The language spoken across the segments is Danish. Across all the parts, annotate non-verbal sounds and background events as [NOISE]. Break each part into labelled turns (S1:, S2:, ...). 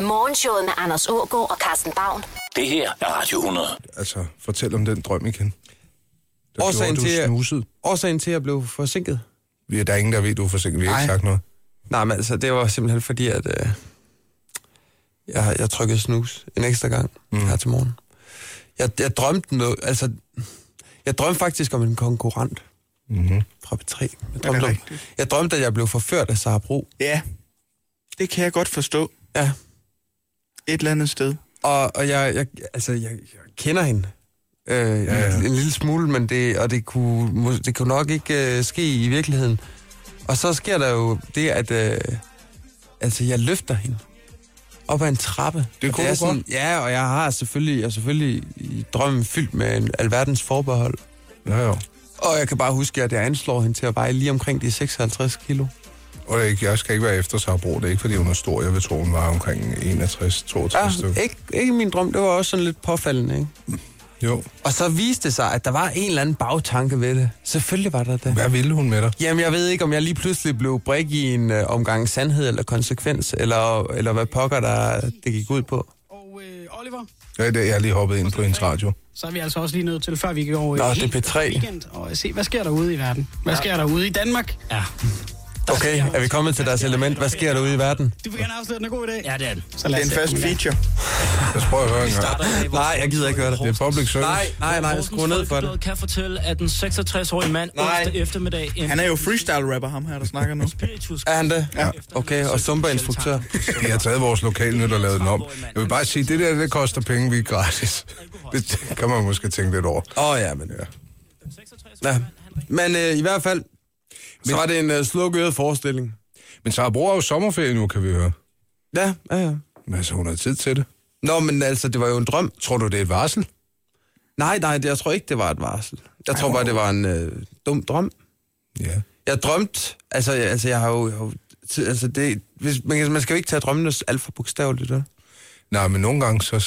S1: Morgenshowet med Anders Ågaard og Carsten Baum.
S2: Det her er Radio 100.
S3: Altså, fortæl om den drøm igen. Der
S4: Årsagen
S3: gjorde,
S4: til,
S3: du
S4: at-
S3: snusede.
S4: Årsagen til, at jeg blev forsinket?
S3: Vi- Der er ingen, der ved, du er forsinket. Vi har ikke
S4: Nej.
S3: sagt noget.
S4: Nej, men altså, det var simpelthen fordi, at øh, jeg, jeg trykkede snus en ekstra gang mm. her til morgen. Jeg, jeg drømte noget, altså, jeg drømte faktisk om en konkurrent
S3: Mm-hmm.
S4: fra P3. Jeg drømte, om,
S5: rigtigt?
S4: jeg drømte at jeg blev forført af Sara Bro.
S5: Ja, det kan jeg godt forstå
S4: Ja,
S5: et eller andet sted.
S4: og, og jeg, jeg, altså, jeg, jeg kender hende. Øh, ja,
S3: ja.
S4: En, en lille smule, men det, og det kunne, mås- det kunne nok ikke øh, ske i virkeligheden. Og så sker der jo det, at øh, altså, jeg løfter hende op ad en trappe.
S3: Det
S4: Og
S3: kunne
S4: er
S3: du
S4: sådan, Ja, og jeg har selvfølgelig, jeg er selvfølgelig i drømmen fyldt med en alverdens forbehold.
S3: Ja, jo.
S4: Og jeg kan bare huske, at jeg anslår hende til at veje lige omkring de 56 kilo.
S3: Og det er ikke, jeg skal ikke være efter Sabro. Det er ikke, fordi hun er stor. Jeg vil tro, hun var omkring 61-62
S4: Ja,
S3: ja, stykker.
S4: Ah, ikke, ikke min drøm, det var også sådan lidt påfaldende, ikke?
S3: Jo.
S4: Og så viste det sig, at der var en eller anden bagtanke ved det. Selvfølgelig var der det.
S3: Hvad ville hun med dig?
S4: Jamen, jeg ved ikke, om jeg lige pludselig blev brik i en øh, omgang sandhed eller konsekvens, eller, eller hvad pokker der det gik ud på.
S6: Og øh, Oliver,
S3: Ja, det, jeg har lige hoppet ind på hendes radio.
S6: så er vi altså også lige nødt til, før vi går over
S4: Nå,
S6: øh,
S4: det er
S6: helt
S4: P3.
S6: weekend, og øh, se, hvad sker der ude i verden? Hvad sker der ude i Danmark?
S7: Ja,
S4: Okay, er vi kommet til deres element? Hvad sker der ude i verden?
S6: Du vil gerne afsløre, den er god i dag.
S7: ja det er det.
S6: Så lad
S5: Det er
S6: os
S5: en fast
S6: se, om den er.
S5: feature.
S3: Lad os prøve at høre en gang.
S7: Starter i dag, hvor-
S4: Nej, jeg gider ikke høre det.
S3: Det er public service.
S4: Nej, nej, nej, skru ned for det.
S7: Folkebladet kan fortælle, at den 66-årige mand
S4: Nej.
S7: onsdag eftermiddag... En
S5: Han er jo freestyle-rapper, ham her, der snakker
S4: [LAUGHS]
S5: nu.
S7: spiritus-
S4: Er han det?
S7: Ja.
S4: Okay, og Zumba-instruktør.
S3: Vi har taget vores lokalnyt og lavet den om. Jeg vil bare sige, det der, det koster penge, vi er gratis. Det kan man måske tænke lidt over.
S4: Åh oh, ja, men... Ja. Ja. Men øh, i hvert fald, så var det en øh, slukøret forestilling.
S3: Men Sara Bro har jo sommerferie nu, kan vi høre.
S4: Ja, ja, ja.
S3: Men altså, hun har tid til det.
S4: Nå, men altså, det var jo en drøm.
S3: Tror du, det er et varsel?
S4: Nej, nej, det, jeg tror ikke, det var et varsel. Jeg tror bare, det var en øh, dum drøm.
S3: Ja.
S4: Jeg drømte, altså, jeg- altså jeg har jo, jeg har jo t- altså det, hvis, man, kan- man skal jo ikke tage drømmene s- alt for bogstaveligt, vel?
S3: Nej, men nogle gange så,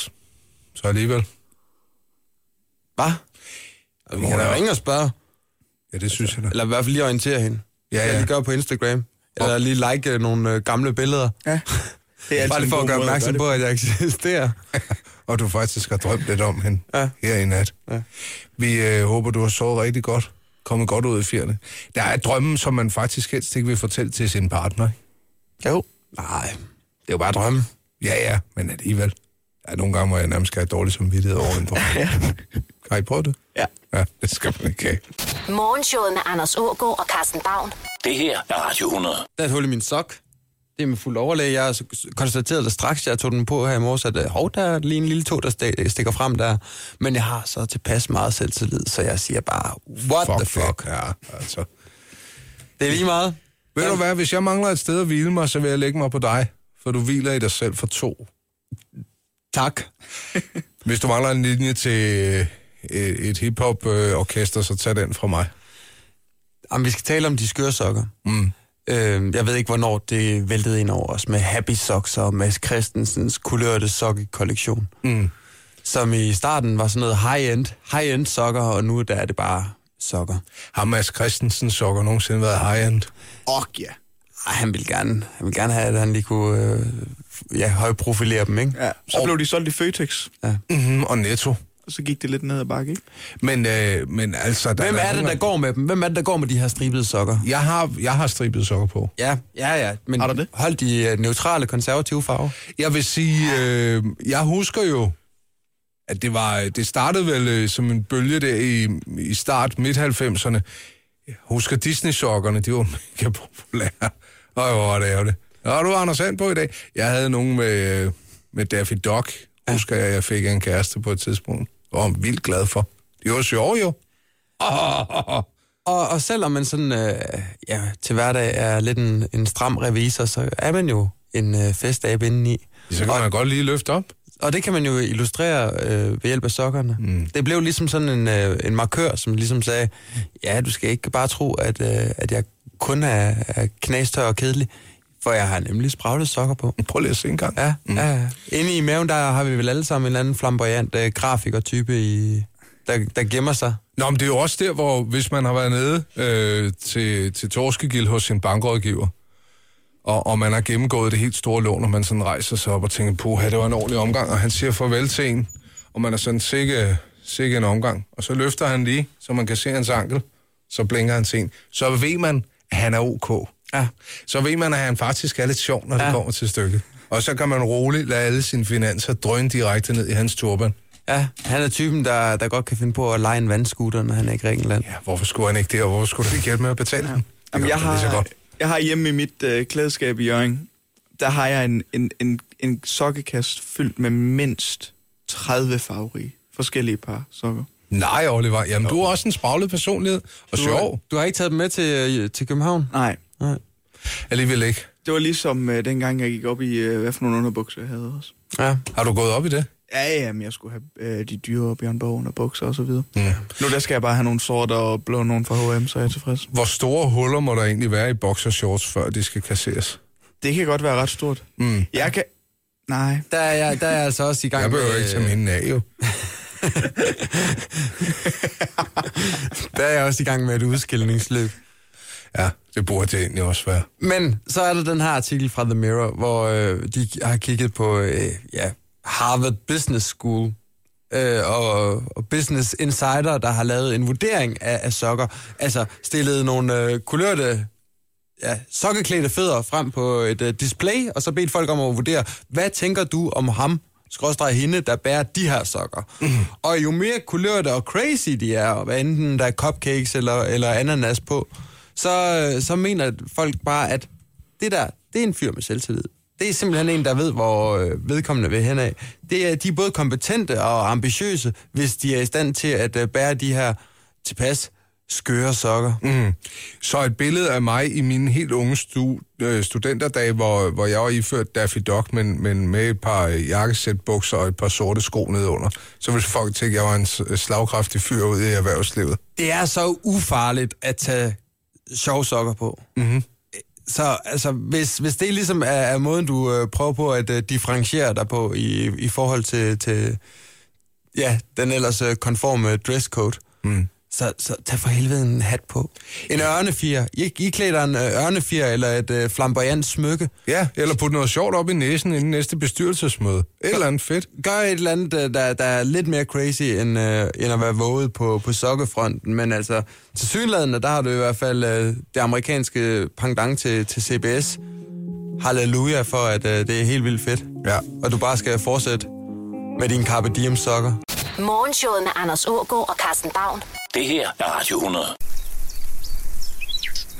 S3: så alligevel.
S4: Hvad? Vi kan da ringe og spørge,
S3: Ja, det synes jeg da.
S4: eller i hvert fald lige orientere hende.
S3: Ja,
S4: Ja, ja.
S3: ja.
S4: Jeg lige gøre på Instagram, eller lige like øh, nogle øh, gamle billeder.
S5: Ja. Det er
S4: Bare
S5: altid
S4: lige
S5: en
S4: for at
S5: god
S4: gøre
S5: måde at
S4: opmærksom
S5: det
S4: på, at jeg eksisterer.
S3: Og du faktisk har drømt lidt om hende
S4: Ja.
S3: ja. her i nat.
S4: Ja.
S3: Ja. Vi øh, håber, du har sovet rigtig godt. Kommet godt ud af fjerne. Der er drømme, som man faktisk helst ikke vil fortælle til sin partner. ikke?
S4: Jo. Nej, det er jo bare drømme.
S3: Ja, ja, men alligevel. Der er nogle gange, hvor jeg nærmest skal have dårlig samvittighed over en drøm. ja. Har I prøvet det?
S5: Ja.
S3: Ja, det skal man ikke have.
S1: Morgenshowet med Anders Ågaard og Carsten Baum.
S2: Det her er Radio 100.
S4: Der er et hul i min sok. Det er med fuld overlæg. Jeg har så- s- konstateret det straks, jeg tog den på her i morges, at øh, hov, der er lige en lille tå, der sti- stikker frem der. Men jeg har så tilpas meget selvtillid, så jeg siger bare, what
S3: Fuck,
S4: the fuck.
S3: det. Ja, altså.
S4: Det er lige meget.
S3: Ved du hvad, hvis jeg mangler et sted at hvile mig, så vil jeg lægge mig på dig. For du hviler i dig selv for to.
S4: Tak.
S3: Hvis du mangler en linje til øh, et hiphop-orkester, så tag den fra mig.
S4: Jamen, vi skal tale om de skøre sokker.
S3: Mm.
S4: Øh, jeg ved ikke, hvornår det væltede ind over os med Happy Socks og Mads Christensens kulørte sokkekollektion.
S3: Mm.
S4: Som i starten var sådan noget high-end, high-end sokker, og nu der er det bare sokker.
S3: Har Mads Christensen sokker nogensinde været high-end?
S5: Og ja.
S4: Ej, han ville gerne, han ville gerne have, at han lige kunne øh, ja, højprofilere dem, ikke?
S5: ja. Så blev de solgt i Føtex,
S3: Mm-hmm, og netto.
S5: og så gik det lidt ned ad bakke, ikke?
S3: Men, øh, men altså... Der
S4: Hvem er det,
S3: nogle
S4: der
S3: gange-
S4: går med dem? Hvem er det, der går med de her stribede sokker?
S3: Jeg har, jeg har stribet sokker på.
S4: Ja, ja, ja. Men
S5: Har du det?
S4: hold de øh, neutrale, konservative farver.
S3: Jeg vil sige, øh, jeg husker jo, at det var det startede vel øh, som en bølge der i, i start midt-90'erne. Jeg husker Disney-sokkerne, de var [LAUGHS] mega populære. Og hvor var det ærgerligt. Nå, du var Anders Sand på i dag. Jeg havde nogen med, øh, med Daffy Duck, husker jeg, jeg fik af en kæreste på et tidspunkt. Det var hun vildt glad for. Det var sjovt jo. [LAUGHS]
S4: Og, og selvom man sådan, øh, ja, til hverdag er lidt en, en stram revisor, så er man jo en øh, festabe indeni.
S3: Så kan man godt lige løfte op.
S4: Og det kan man jo illustrere øh, ved hjælp af sokkerne. Mm. Det blev ligesom sådan en, øh, en markør, som ligesom sagde, ja, du skal ikke bare tro, at, øh, at jeg kun er, er knastør og kedelig, for jeg har nemlig spraglet sokker på.
S3: Prøv lige at se en gang.
S4: Ja, mm. ja, ja. Inde i maven, der har vi vel alle sammen en eller anden flamboyant øh, grafikertype, i, der, der gemmer sig.
S3: Nå, men det er jo også der, hvor hvis man har været nede øh, til, til Torskegil hos sin bankrådgiver, og, og man har gennemgået det helt store lån, og man sådan rejser sig op og tænker, puha, det var en ordentlig omgang, og han siger farvel til en, og man er sådan sikke, sikke en omgang. Og så løfter han lige, så man kan se hans ankel, så blinker han til en. Så ved man, at han er ok. Ja. Så ved man, at han faktisk er lidt sjov, når ja. det kommer til stykket. Og så kan man roligt lade alle sine finanser drøne direkte ned i hans turban.
S4: Ja, han er typen, der, der godt kan finde på at lege en vandskuter, når han er i Grækenland.
S3: Ja, hvorfor skulle han ikke det, og hvorfor skulle du ikke hjælpe med at betale ja. ham? Det
S5: Jamen,
S3: gør
S5: jeg,
S3: han lige så
S5: har,
S3: godt.
S5: jeg har hjemme i mit øh, klædeskab i Jørgen, der har jeg en, en, en, en sokkekast fyldt med mindst 30 farverige forskellige par sokker.
S3: Nej, Oliver, jamen du er også en spraglet personlighed, og
S4: Du,
S3: sjov
S4: du har ikke taget dem med til, øh, til København?
S5: Nej,
S3: alligevel ikke.
S5: det var ligesom øh, dengang, jeg gik op i, øh, hvad for nogle underbukser jeg havde også.
S4: Ja.
S3: Har du gået op i det?
S5: Ja, jamen, jeg skulle have øh, de dyre Bjørn Borg underbukser og så videre. Nu der skal jeg bare have nogle sorte og blå nogle fra H&M, så er jeg tilfreds.
S3: Hvor store huller må der egentlig være i boxershorts, før de skal kasseres?
S5: Det kan godt være ret stort.
S3: Mm.
S5: Jeg kan... Nej,
S4: Der er, jeg, der er jeg altså også i gang
S3: Jeg behøver
S4: med,
S3: ikke tage mine af, jo.
S4: Der er jeg også i gang med et udskillingsløb.
S3: Ja, det burde det egentlig også være.
S4: Men så er der den her artikel fra The Mirror, hvor øh, de har kigget på øh, ja, Harvard Business School øh, og, og Business Insider, der har lavet en vurdering af, af sokker. Altså stillet nogle øh, kulørte ja, sokkeklædte fødder frem på et øh, display, og så bedt folk om at vurdere, hvad tænker du om ham, skråstreg hende, der bærer de her sokker. Mm. Og jo mere kulørte og crazy de er, og hvad enten der er cupcakes eller, eller ananas på, så, øh, så mener folk bare, at det der, det er en fyr med selvtillid. Det er simpelthen en, der ved, hvor øh, vedkommende vil henad. Det er, de er både kompetente og ambitiøse, hvis de er i stand til at øh, bære de her tilpas skøre sokker. Mm.
S3: Så et billede af mig i mine helt unge stu, øh, studenterdage, hvor, hvor jeg var iført Daffy Duck, men, men med et par øh, jakkesæt, bukser og et par sorte sko nedenunder. Så ville folk tænke, at jeg var en s- slagkraftig fyr ude i erhvervslivet.
S4: det er så ufarligt at tage sjove sokker på. Mm-hmm. Så altså, hvis, hvis det ligesom er, er måden, du øh, prøver på at øh, differentiere dig på i, i forhold til, til ja, den ellers øh, konforme dresscode, mm. så, så tag for helvede en hat på. En ørnefjer. I, I klæder en øh, ørnefjer eller et øh, flamboyant smykke.
S3: Ja, eller putte noget sjovt op i næsen inden næste bestyrelsesmøde. Et eller andet fedt.
S4: Gør et eller andet, øh, der, der er lidt mere crazy, end, øh, end at være våget på, på sokkefronten. Men altså, til synlædende, der har du i hvert fald øh, det amerikanske pendant til, til CBS. Halleluja for, at øh, det er helt vildt fedt.
S3: Ja.
S4: Og du bare skal fortsætte med dine Carpe Diem sokker.
S1: Morgenshowet med Anders Ågaard og Carsten Baum.
S2: Det her er Radio 100.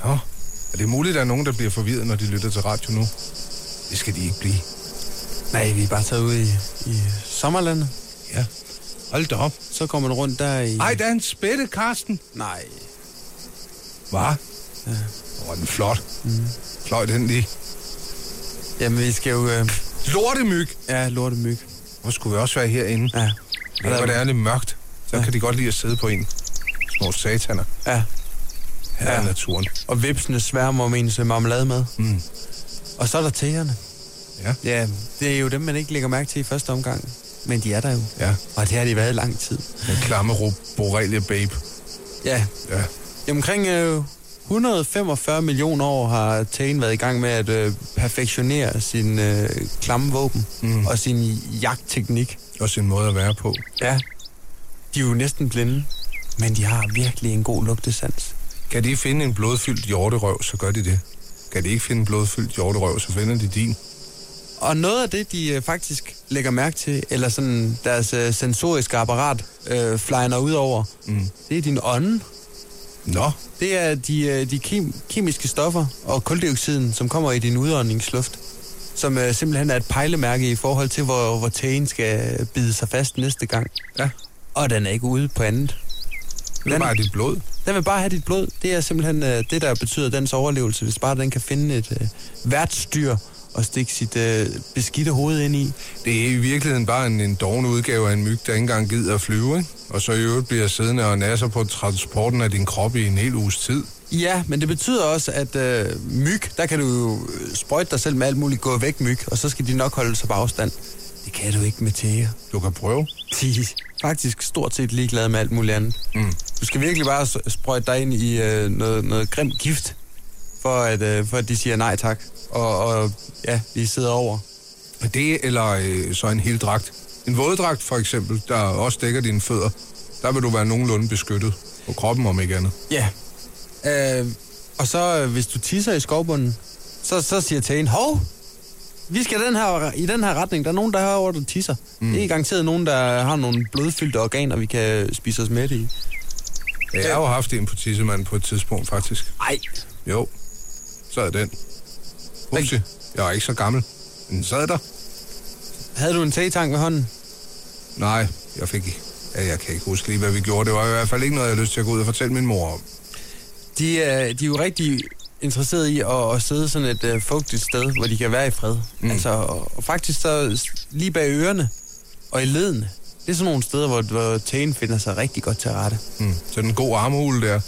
S3: Nå, er det muligt, at der er nogen, der bliver forvirret, når de lytter til radio nu? Det skal de ikke blive.
S4: Nej, vi er bare taget ud i, i sommerlandet.
S3: Ja. Hold da op.
S4: Så kommer man rundt der i...
S3: Ej, der er en spætte, Karsten.
S4: Nej.
S3: Hva? Ja. Hvor er den flot. Mm. Fløj den lige.
S4: Jamen, vi skal jo... Øh,
S3: Lortemyg.
S4: ja, lortemyg.
S3: Hvor skulle vi også være herinde? Ja.
S4: Ja.
S3: Ved du, hvor det er lidt mørkt? Så ja. kan de godt lide at sidde på en. Små sataner.
S4: Ja.
S3: Her ja. er naturen.
S4: og vipsene sværmer om ens øh, marmelade med. Mm. Og så er der tæerne.
S3: Ja.
S4: ja. Det er jo dem, man ikke lægger mærke til i første omgang. Men de er der jo.
S3: Ja.
S4: Og det har de været i lang tid.
S3: Den klamme ro Borrelia Babe.
S4: Ja.
S3: Ja.
S4: I Omkring øh, 145 millioner år har tæen været i gang med at øh, perfektionere sin øh, klamme våben mm. og sin jagtteknik.
S3: Også en måde at være på.
S4: Ja. De er jo næsten blinde, men de har virkelig en god lugtesans.
S3: Kan de finde en blodfyldt hjorterøv, så gør de det. Kan de ikke finde en blodfyldt hjorterøv, så finder de din.
S4: Og noget af det, de øh, faktisk lægger mærke til, eller sådan deres øh, sensoriske apparat øh, flyner ud over, mm. det er din ånde.
S3: Nå,
S4: Det er de, øh, de kim- kemiske stoffer og koldioxiden, som kommer i din udåndingsluft, som øh, simpelthen er et pejlemærke i forhold til, hvor, hvor tæen skal øh, bide sig fast næste gang.
S3: Ja.
S4: Og den er ikke ude på andet.
S3: det er
S4: Den-
S3: bare dit blod.
S4: Den vil bare have dit blod. Det er simpelthen øh, det, der betyder dens overlevelse, hvis bare den kan finde et øh, værtsdyr og stikke sit øh, beskidte hoved ind i.
S3: Det er i virkeligheden bare en, en doven udgave af en myg, der ikke engang gider at flyve, ikke? Og så i øvrigt bliver siddende og nasser på transporten af din krop i en hel uges tid.
S4: Ja, men det betyder også, at øh, myg, der kan du jo øh, sprøjte dig selv med alt muligt gå væk myg, og så skal de nok holde sig på afstand. Det kan du ikke med tæer.
S3: Du kan prøve.
S4: De er faktisk stort set ligeglade med alt muligt andet. Mm. Du skal virkelig bare s- sprøjte dig ind i øh, noget, noget grimt gift, for at, øh, for at de siger nej tak, og, og ja, vi sidder over.
S3: Og Det eller øh, så en hel dragt. En våddragt for eksempel, der også dækker dine fødder. Der vil du være nogenlunde beskyttet på kroppen, om ikke andet.
S4: Ja. Øh, og så, øh, hvis du tisser i skovbunden, så, så siger Tagen, hov, vi skal den her, i den her retning. Der er nogen, der har over, der tisser. Mm. Det er garanteret nogen, der har nogle blodfyldte organer, vi kan spise os med i.
S3: Jeg har jo haft en på tissemanden på et tidspunkt, faktisk.
S4: Ej,
S3: Jo, sad den. Upsi, jeg er ikke så gammel. Men Den sad der.
S4: havde du en tetank ved hånden?
S3: Nej, jeg fik ikke. Ja, jeg kan ikke huske lige, hvad vi gjorde. Det var i hvert fald ikke noget, jeg havde lyst til at gå ud og fortælle min mor om.
S4: De er, de er jo rigtig interesserede i at, at sidde sådan et øh, fugtigt sted, hvor de kan være i fred. Mm. Altså, og, og faktisk så s- lige bag ørerne og i ledene. Det er sådan nogle steder, hvor, hvor tæen finder sig rigtig godt til rette.
S3: Mm. Så den gode armhule der.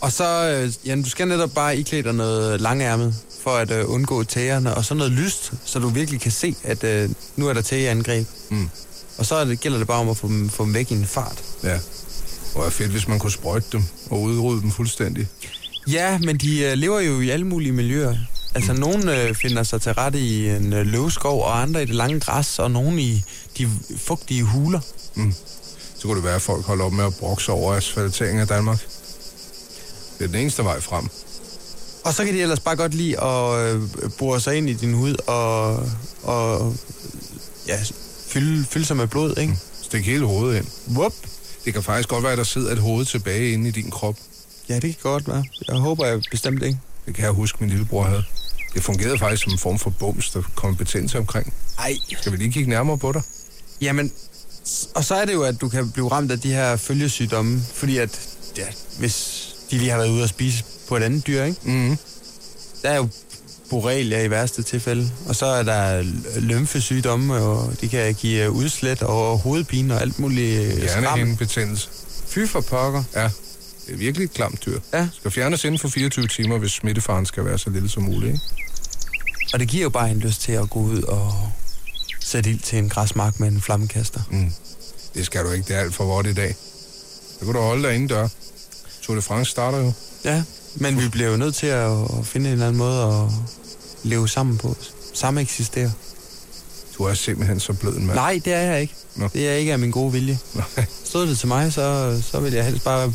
S4: Og så, øh, Jan, du skal netop bare iklæde dig noget langærmet, for at øh, undgå tæerne, og så noget lyst, så du virkelig kan se, at øh, nu er der tægeangreb.
S3: Mm.
S4: Og så er det, gælder det bare om at få dem, få dem væk i en fart.
S3: Ja. Og det er fedt, hvis man kunne sprøjte dem og udrydde dem fuldstændig.
S4: Ja, men de øh, lever jo i alle mulige miljøer. Altså, mm. nogen øh, finder sig til rette i en øh, løvskov, og andre i det lange græs, og nogen i de fugtige huler.
S3: Så kunne det være, at folk holder op med at brokse over asfalteringen af Danmark. Det er den eneste vej frem.
S4: Og så kan de ellers bare godt lide at øh, bore sig ind i din hud og, og ja, fylde, fylde sig med blod, ikke?
S3: Stik hele hovedet ind.
S4: Mm. Whoop.
S3: Det kan faktisk godt være, at der sidder et hoved tilbage inde i din krop.
S4: Ja, det kan godt være. Jeg håber jeg bestemt ikke.
S3: Det kan jeg huske, min lillebror havde. Det fungerede faktisk som en form for bums, der kom betændelse omkring.
S4: Ej.
S3: Skal vi lige kigge nærmere på dig?
S4: Jamen, s- og så er det jo, at du kan blive ramt af de her følgesygdomme, fordi at, ja, hvis de lige har været ude at spise på et andet dyr, ikke?
S3: Mhm.
S4: Der er jo borrelia i værste tilfælde, og så er der l- lymfesygdomme, og det kan give øh, udslæt og hovedpine og alt muligt øh, skram.
S3: Hjernehindebetændelse.
S4: Fy for pokker.
S3: Ja, det er virkelig et klamt dyr.
S4: Ja.
S3: Skal fjernes inden for 24 timer, hvis smittefaren skal være så lille som muligt. Ikke?
S4: Og det giver jo bare en lyst til at gå ud og sætte ild til en græsmark med en flammekaster.
S3: Det skal du ikke. Det er alt for vort i dag. Så kan du holde dig indendør. Tour de France starter jo.
S4: Ja, men vi bliver jo nødt til at, at finde en eller anden måde at leve sammen på. Samme eksisterer.
S3: Du er simpelthen så blød en mand.
S4: Nej, det er jeg ikke.
S3: Nå.
S4: Det er jeg ikke af min gode vilje.
S3: Nej.
S4: Stod det til mig, så, så ville jeg helst bare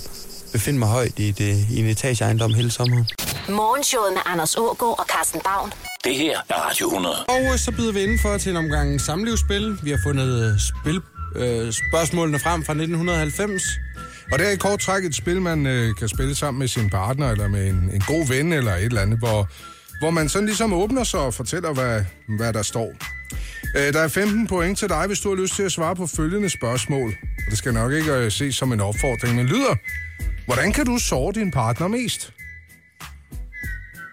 S4: befinde mig højt i, det, i en etageejendom hele sommeren.
S1: Morgenshowet med Anders Ågaard og Carsten Baum.
S2: Det her er Radio 100.
S4: Og øh, så byder vi indenfor til en omgang samlivsspil. Vi har fundet øh, spil, øh, spørgsmålene frem fra 1990.
S3: Og det er i kort træk et spil, man øh, kan spille sammen med sin partner, eller med en, en god ven, eller et eller andet, hvor, hvor man sådan ligesom åbner sig og fortæller, hvad, hvad der står. Øh, der er 15 point til dig, hvis du har lyst til at svare på følgende spørgsmål. Og det skal nok ikke øh, ses som en opfordring, men lyder. Hvordan kan du såre din partner mest?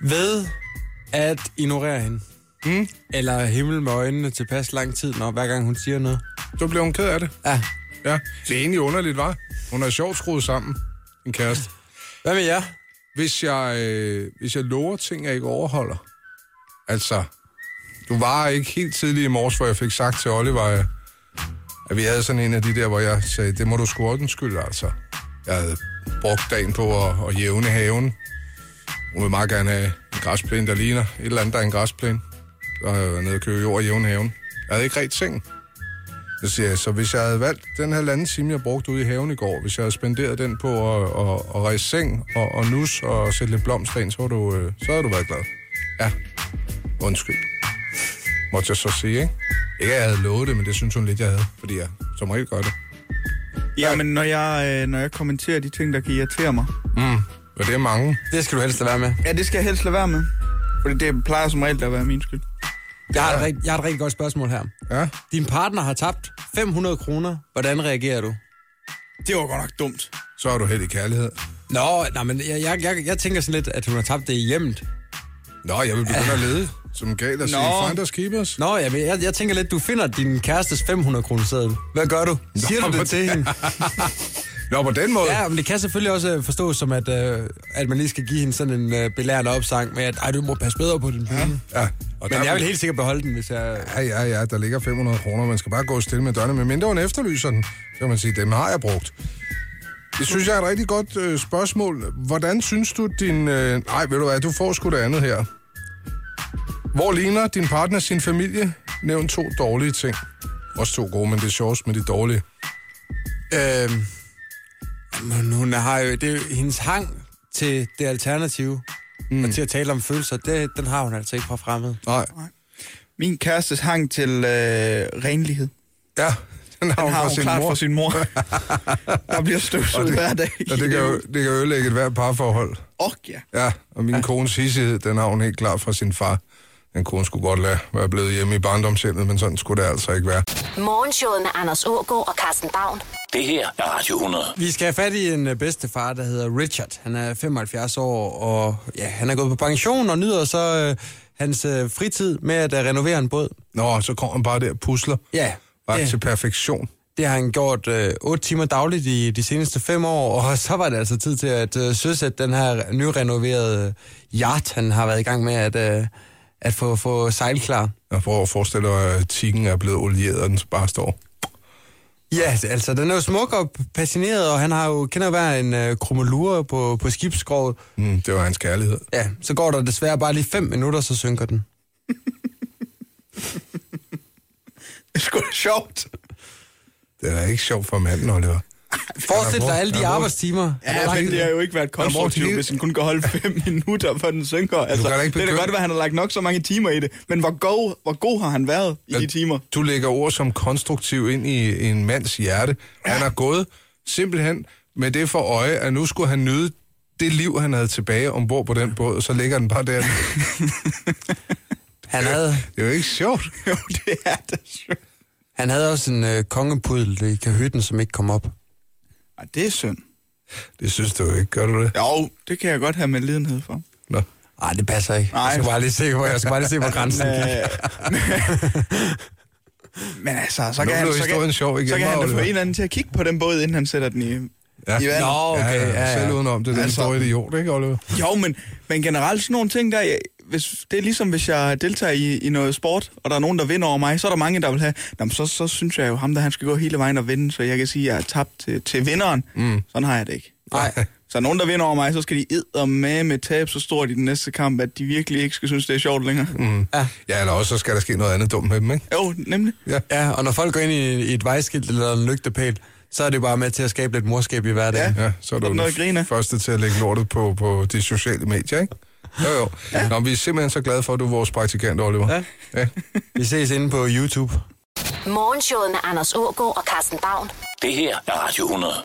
S4: Ved at ignorere hende. Mm. Eller himmel med øjnene tilpas lang tid, når hver gang hun siger noget.
S3: Så bliver hun ked af det.
S4: Ja.
S3: Ja, det er egentlig underligt, var. Hun er sjovt skruet sammen, en kæreste.
S4: Hvad med jer?
S3: Hvis jeg, øh, hvis jeg lover ting, jeg ikke overholder. Altså, du var ikke helt tidlig i morges, hvor jeg fik sagt til Oliver, øh, at vi havde sådan en af de der, hvor jeg sagde, det må du sgu ikke undskylde, altså. Jeg havde brugt dagen på at, at jævne haven. Hun vil meget gerne have en græsplæne, der ligner et eller andet, der er en græsplæne. Så har jeg været nede og købe jord og jævne haven. Jeg havde ikke ret sengen. Så siger jeg, så hvis jeg havde valgt den halvanden time, jeg brugte ude i haven i går, hvis jeg havde spenderet den på at, at, at rejse seng og, og nus og sætte lidt blomster ind, så havde du, øh, så havde du været glad. Ja, undskyld. Måtte jeg så sige, ikke? Ikke, at jeg havde lovet det, men det synes hun lidt, jeg havde, fordi jeg som regel gør det.
S5: Ja, men når jeg, øh, når jeg kommenterer de ting, der kan irritere mig,
S3: Og det er mange.
S4: Det skal du helst lade være med.
S5: ja, det skal jeg helst lade være med. For det plejer som regel at være min skyld.
S4: Jeg har, et, rigt- jeg har et rigtig godt spørgsmål her.
S3: Ja,
S4: Din partner har tabt 500 kroner. Hvordan reagerer du?
S5: Det var godt nok dumt.
S3: så er du helt i kærlighed.
S4: Nå, nej, men jeg, jeg, jeg, jeg tænker sådan lidt, at hun har tabt det i hjemmet.
S3: Nå, jeg vil begynde at lede, som galt at sige,
S5: Nå.
S3: find us, keep us.
S4: Nå, jeg, jeg, jeg tænker lidt, du finder din kærestes 500 kroner seddel. Hvad gør du? Siger
S3: Nå,
S4: du
S3: men-
S4: det til hende?
S3: Nå, på den måde.
S4: [LAUGHS] Ja, men det kan selvfølgelig også øh, forstås som, at, øh, at man lige skal give hende sådan en øh, belærende opsang med, at ej, du må passe bedre på din penge. Ja.
S3: ja. Og
S4: Men
S3: der-
S4: jeg vil helt sikkert beholde den, hvis jeg...
S3: Ja, ja, ja, der ligger 500 kroner. Man skal bare gå stille med dørene, medmindre hun efterlyser den. Så kan man sige, dem har jeg brugt. Det synes jeg er et rigtig godt øh, spørgsmål. Hvordan synes du din... Øh... Ej, ved du hvad, du får sgu det andet her. Hvor ligner din partner sin familie? Nævn to dårlige ting. Også to gode, men det er sjovest med de dårlige.
S4: Øhm, men hun har jo, det er jo hendes hang til det alternative, mm. og til at tale om følelser, det, den har hun altså ikke fra fremmed.
S3: Nej.
S5: Min kærestes hang til øh, renlighed.
S3: Ja, den har
S5: Den
S3: hun
S5: har
S3: fra
S5: hun
S3: sin
S5: klart
S3: mor.
S5: fra
S3: [LAUGHS]
S5: sin mor. Der bliver støvsuget hver dag.
S3: Og det kan,
S5: [LAUGHS]
S3: jo, det kan ødelægge et hvert parforhold.
S5: Ork, ja.
S3: Ja, og min ja. kones hissighed, den har hun helt klar fra sin far. Den kone skulle godt lade være blevet hjemme i barndomshjemmet, men sådan skulle det altså ikke være.
S1: Morgenshowet med Anders Ågaard og Carsten Baum.
S2: Det her er Radio 100.
S4: Vi skal have fat i en øh, bedstefar, der hedder Richard. Han er 75 år, og ja, han er gået på pension og nyder så øh, hans øh, fritid med at øh, renovere en båd.
S3: Nå, så kommer han bare der og pusler.
S4: Ja,
S3: Ret
S4: det-
S3: til perfektion.
S4: Det har han gjort øh, 8 timer dagligt i de seneste 5 år, [LAUGHS] og så var det altså tid til at øh, søsætte den her nyrenoverede yacht, han har været i gang med at, øh, at få, få sejlklar.
S3: Jeg prøver at forestille dig, at tikken er blevet olieret, og den bare står.
S4: Ja, altså den er jo smuk og passioneret, og han har jo, kender jo hver en øh, krummelure på, på skibsskroget.
S3: Mm, det var hans kærlighed.
S4: Ja, så går der desværre bare lige 5 minutter, så synker den.
S5: Det er sgu da sjovt.
S3: Det er da ikke sjovt for manden, Oliver.
S4: Forestil
S3: brugt-
S4: dig alle
S3: han
S4: de
S3: har brugt-
S4: arbejdstimer.
S5: Ja, men det har jo ikke været
S3: brugt
S5: konstruktivt,
S3: hele-
S5: hvis den kun kan holde fem [LAUGHS] minutter, før den synker. Altså,
S3: kan da
S5: det
S3: ikke
S5: kan da
S3: begynde-
S5: godt være, at han har lagt nok så mange timer i det, men hvor god, hvor god har han været i de timer?
S3: Du lægger ord som konstruktiv ind i en mands hjerte. Han har gået simpelthen med det for øje, at nu skulle han nyde det liv, han havde tilbage ombord på den båd, og så ligger den bare der.
S4: Han havde,
S3: Det er jo ikke sjovt.
S5: [LAUGHS] Jo, det er det. synd.
S4: han havde også en øh, kongepudel i kahytten, som ikke kom op.
S5: Ej, det er synd.
S3: Det synes du jo ikke, gør du det?
S5: Jo, det kan jeg godt have med lidenhed for.
S3: Nå.
S4: Nej, det passer ikke.
S5: Nej.
S4: Jeg skal bare lige se, hvor, jeg skal bare lige
S5: [LAUGHS]
S4: se, hvor grænsen gik.
S5: Øh,
S3: [LAUGHS]
S5: Men altså, så
S3: Nu
S5: kan, han,
S3: blev
S5: så
S3: historien
S5: kan,
S3: sjov igen,
S5: så kan han da få
S3: Oliver.
S5: en eller anden til at kigge på den båd, inden han sætter den i...
S3: Ja.
S5: I vandet.
S4: Nå, okay,
S3: Ja, ja,
S4: ja, ja.
S3: Selv udenom det, den altså...
S5: Altså-
S3: store idiot, ikke, Oliver?
S5: Jo, men, men generelt sådan nogle ting der... Jeg, hvis, det er ligesom, hvis jeg deltager i, i noget sport, og der er nogen, der vinder over mig, så er der mange, der vil have... Nå, men så, så synes jeg jo, ham der, han skal gå hele vejen og vinde, så jeg kan sige, at jeg er tabt til, til vinderen. Mm. Sådan har jeg det ikke.
S4: Nej.
S5: Så er der nogen, der vinder over mig, så skal de med med tab så stort i den næste kamp, at de virkelig ikke skal synes, det er sjovt længere. Mm.
S3: Ja, eller også så skal der ske noget andet dumt med dem, ikke?
S5: Jo, nemlig.
S4: Ja, og når folk går ind i, i et vejskilt eller en lygtepæl, så er det jo bare med til at skabe lidt morskab i hverdagen.
S5: Ja.
S3: Ja, så er
S5: Der
S3: du
S5: er noget
S3: den
S5: at grine af.
S3: første til at lægge lortet på, på de sociale medier, ikke? Jo, jo. Ja. Nå, men vi er simpelthen så glade for, at du er vores praktikant, Oliver.
S4: Ja.
S3: ja.
S4: Vi ses inde på YouTube.
S1: Morgenshowet med Anders Ågaard og Carsten Baum.
S2: Det her er Radio 100.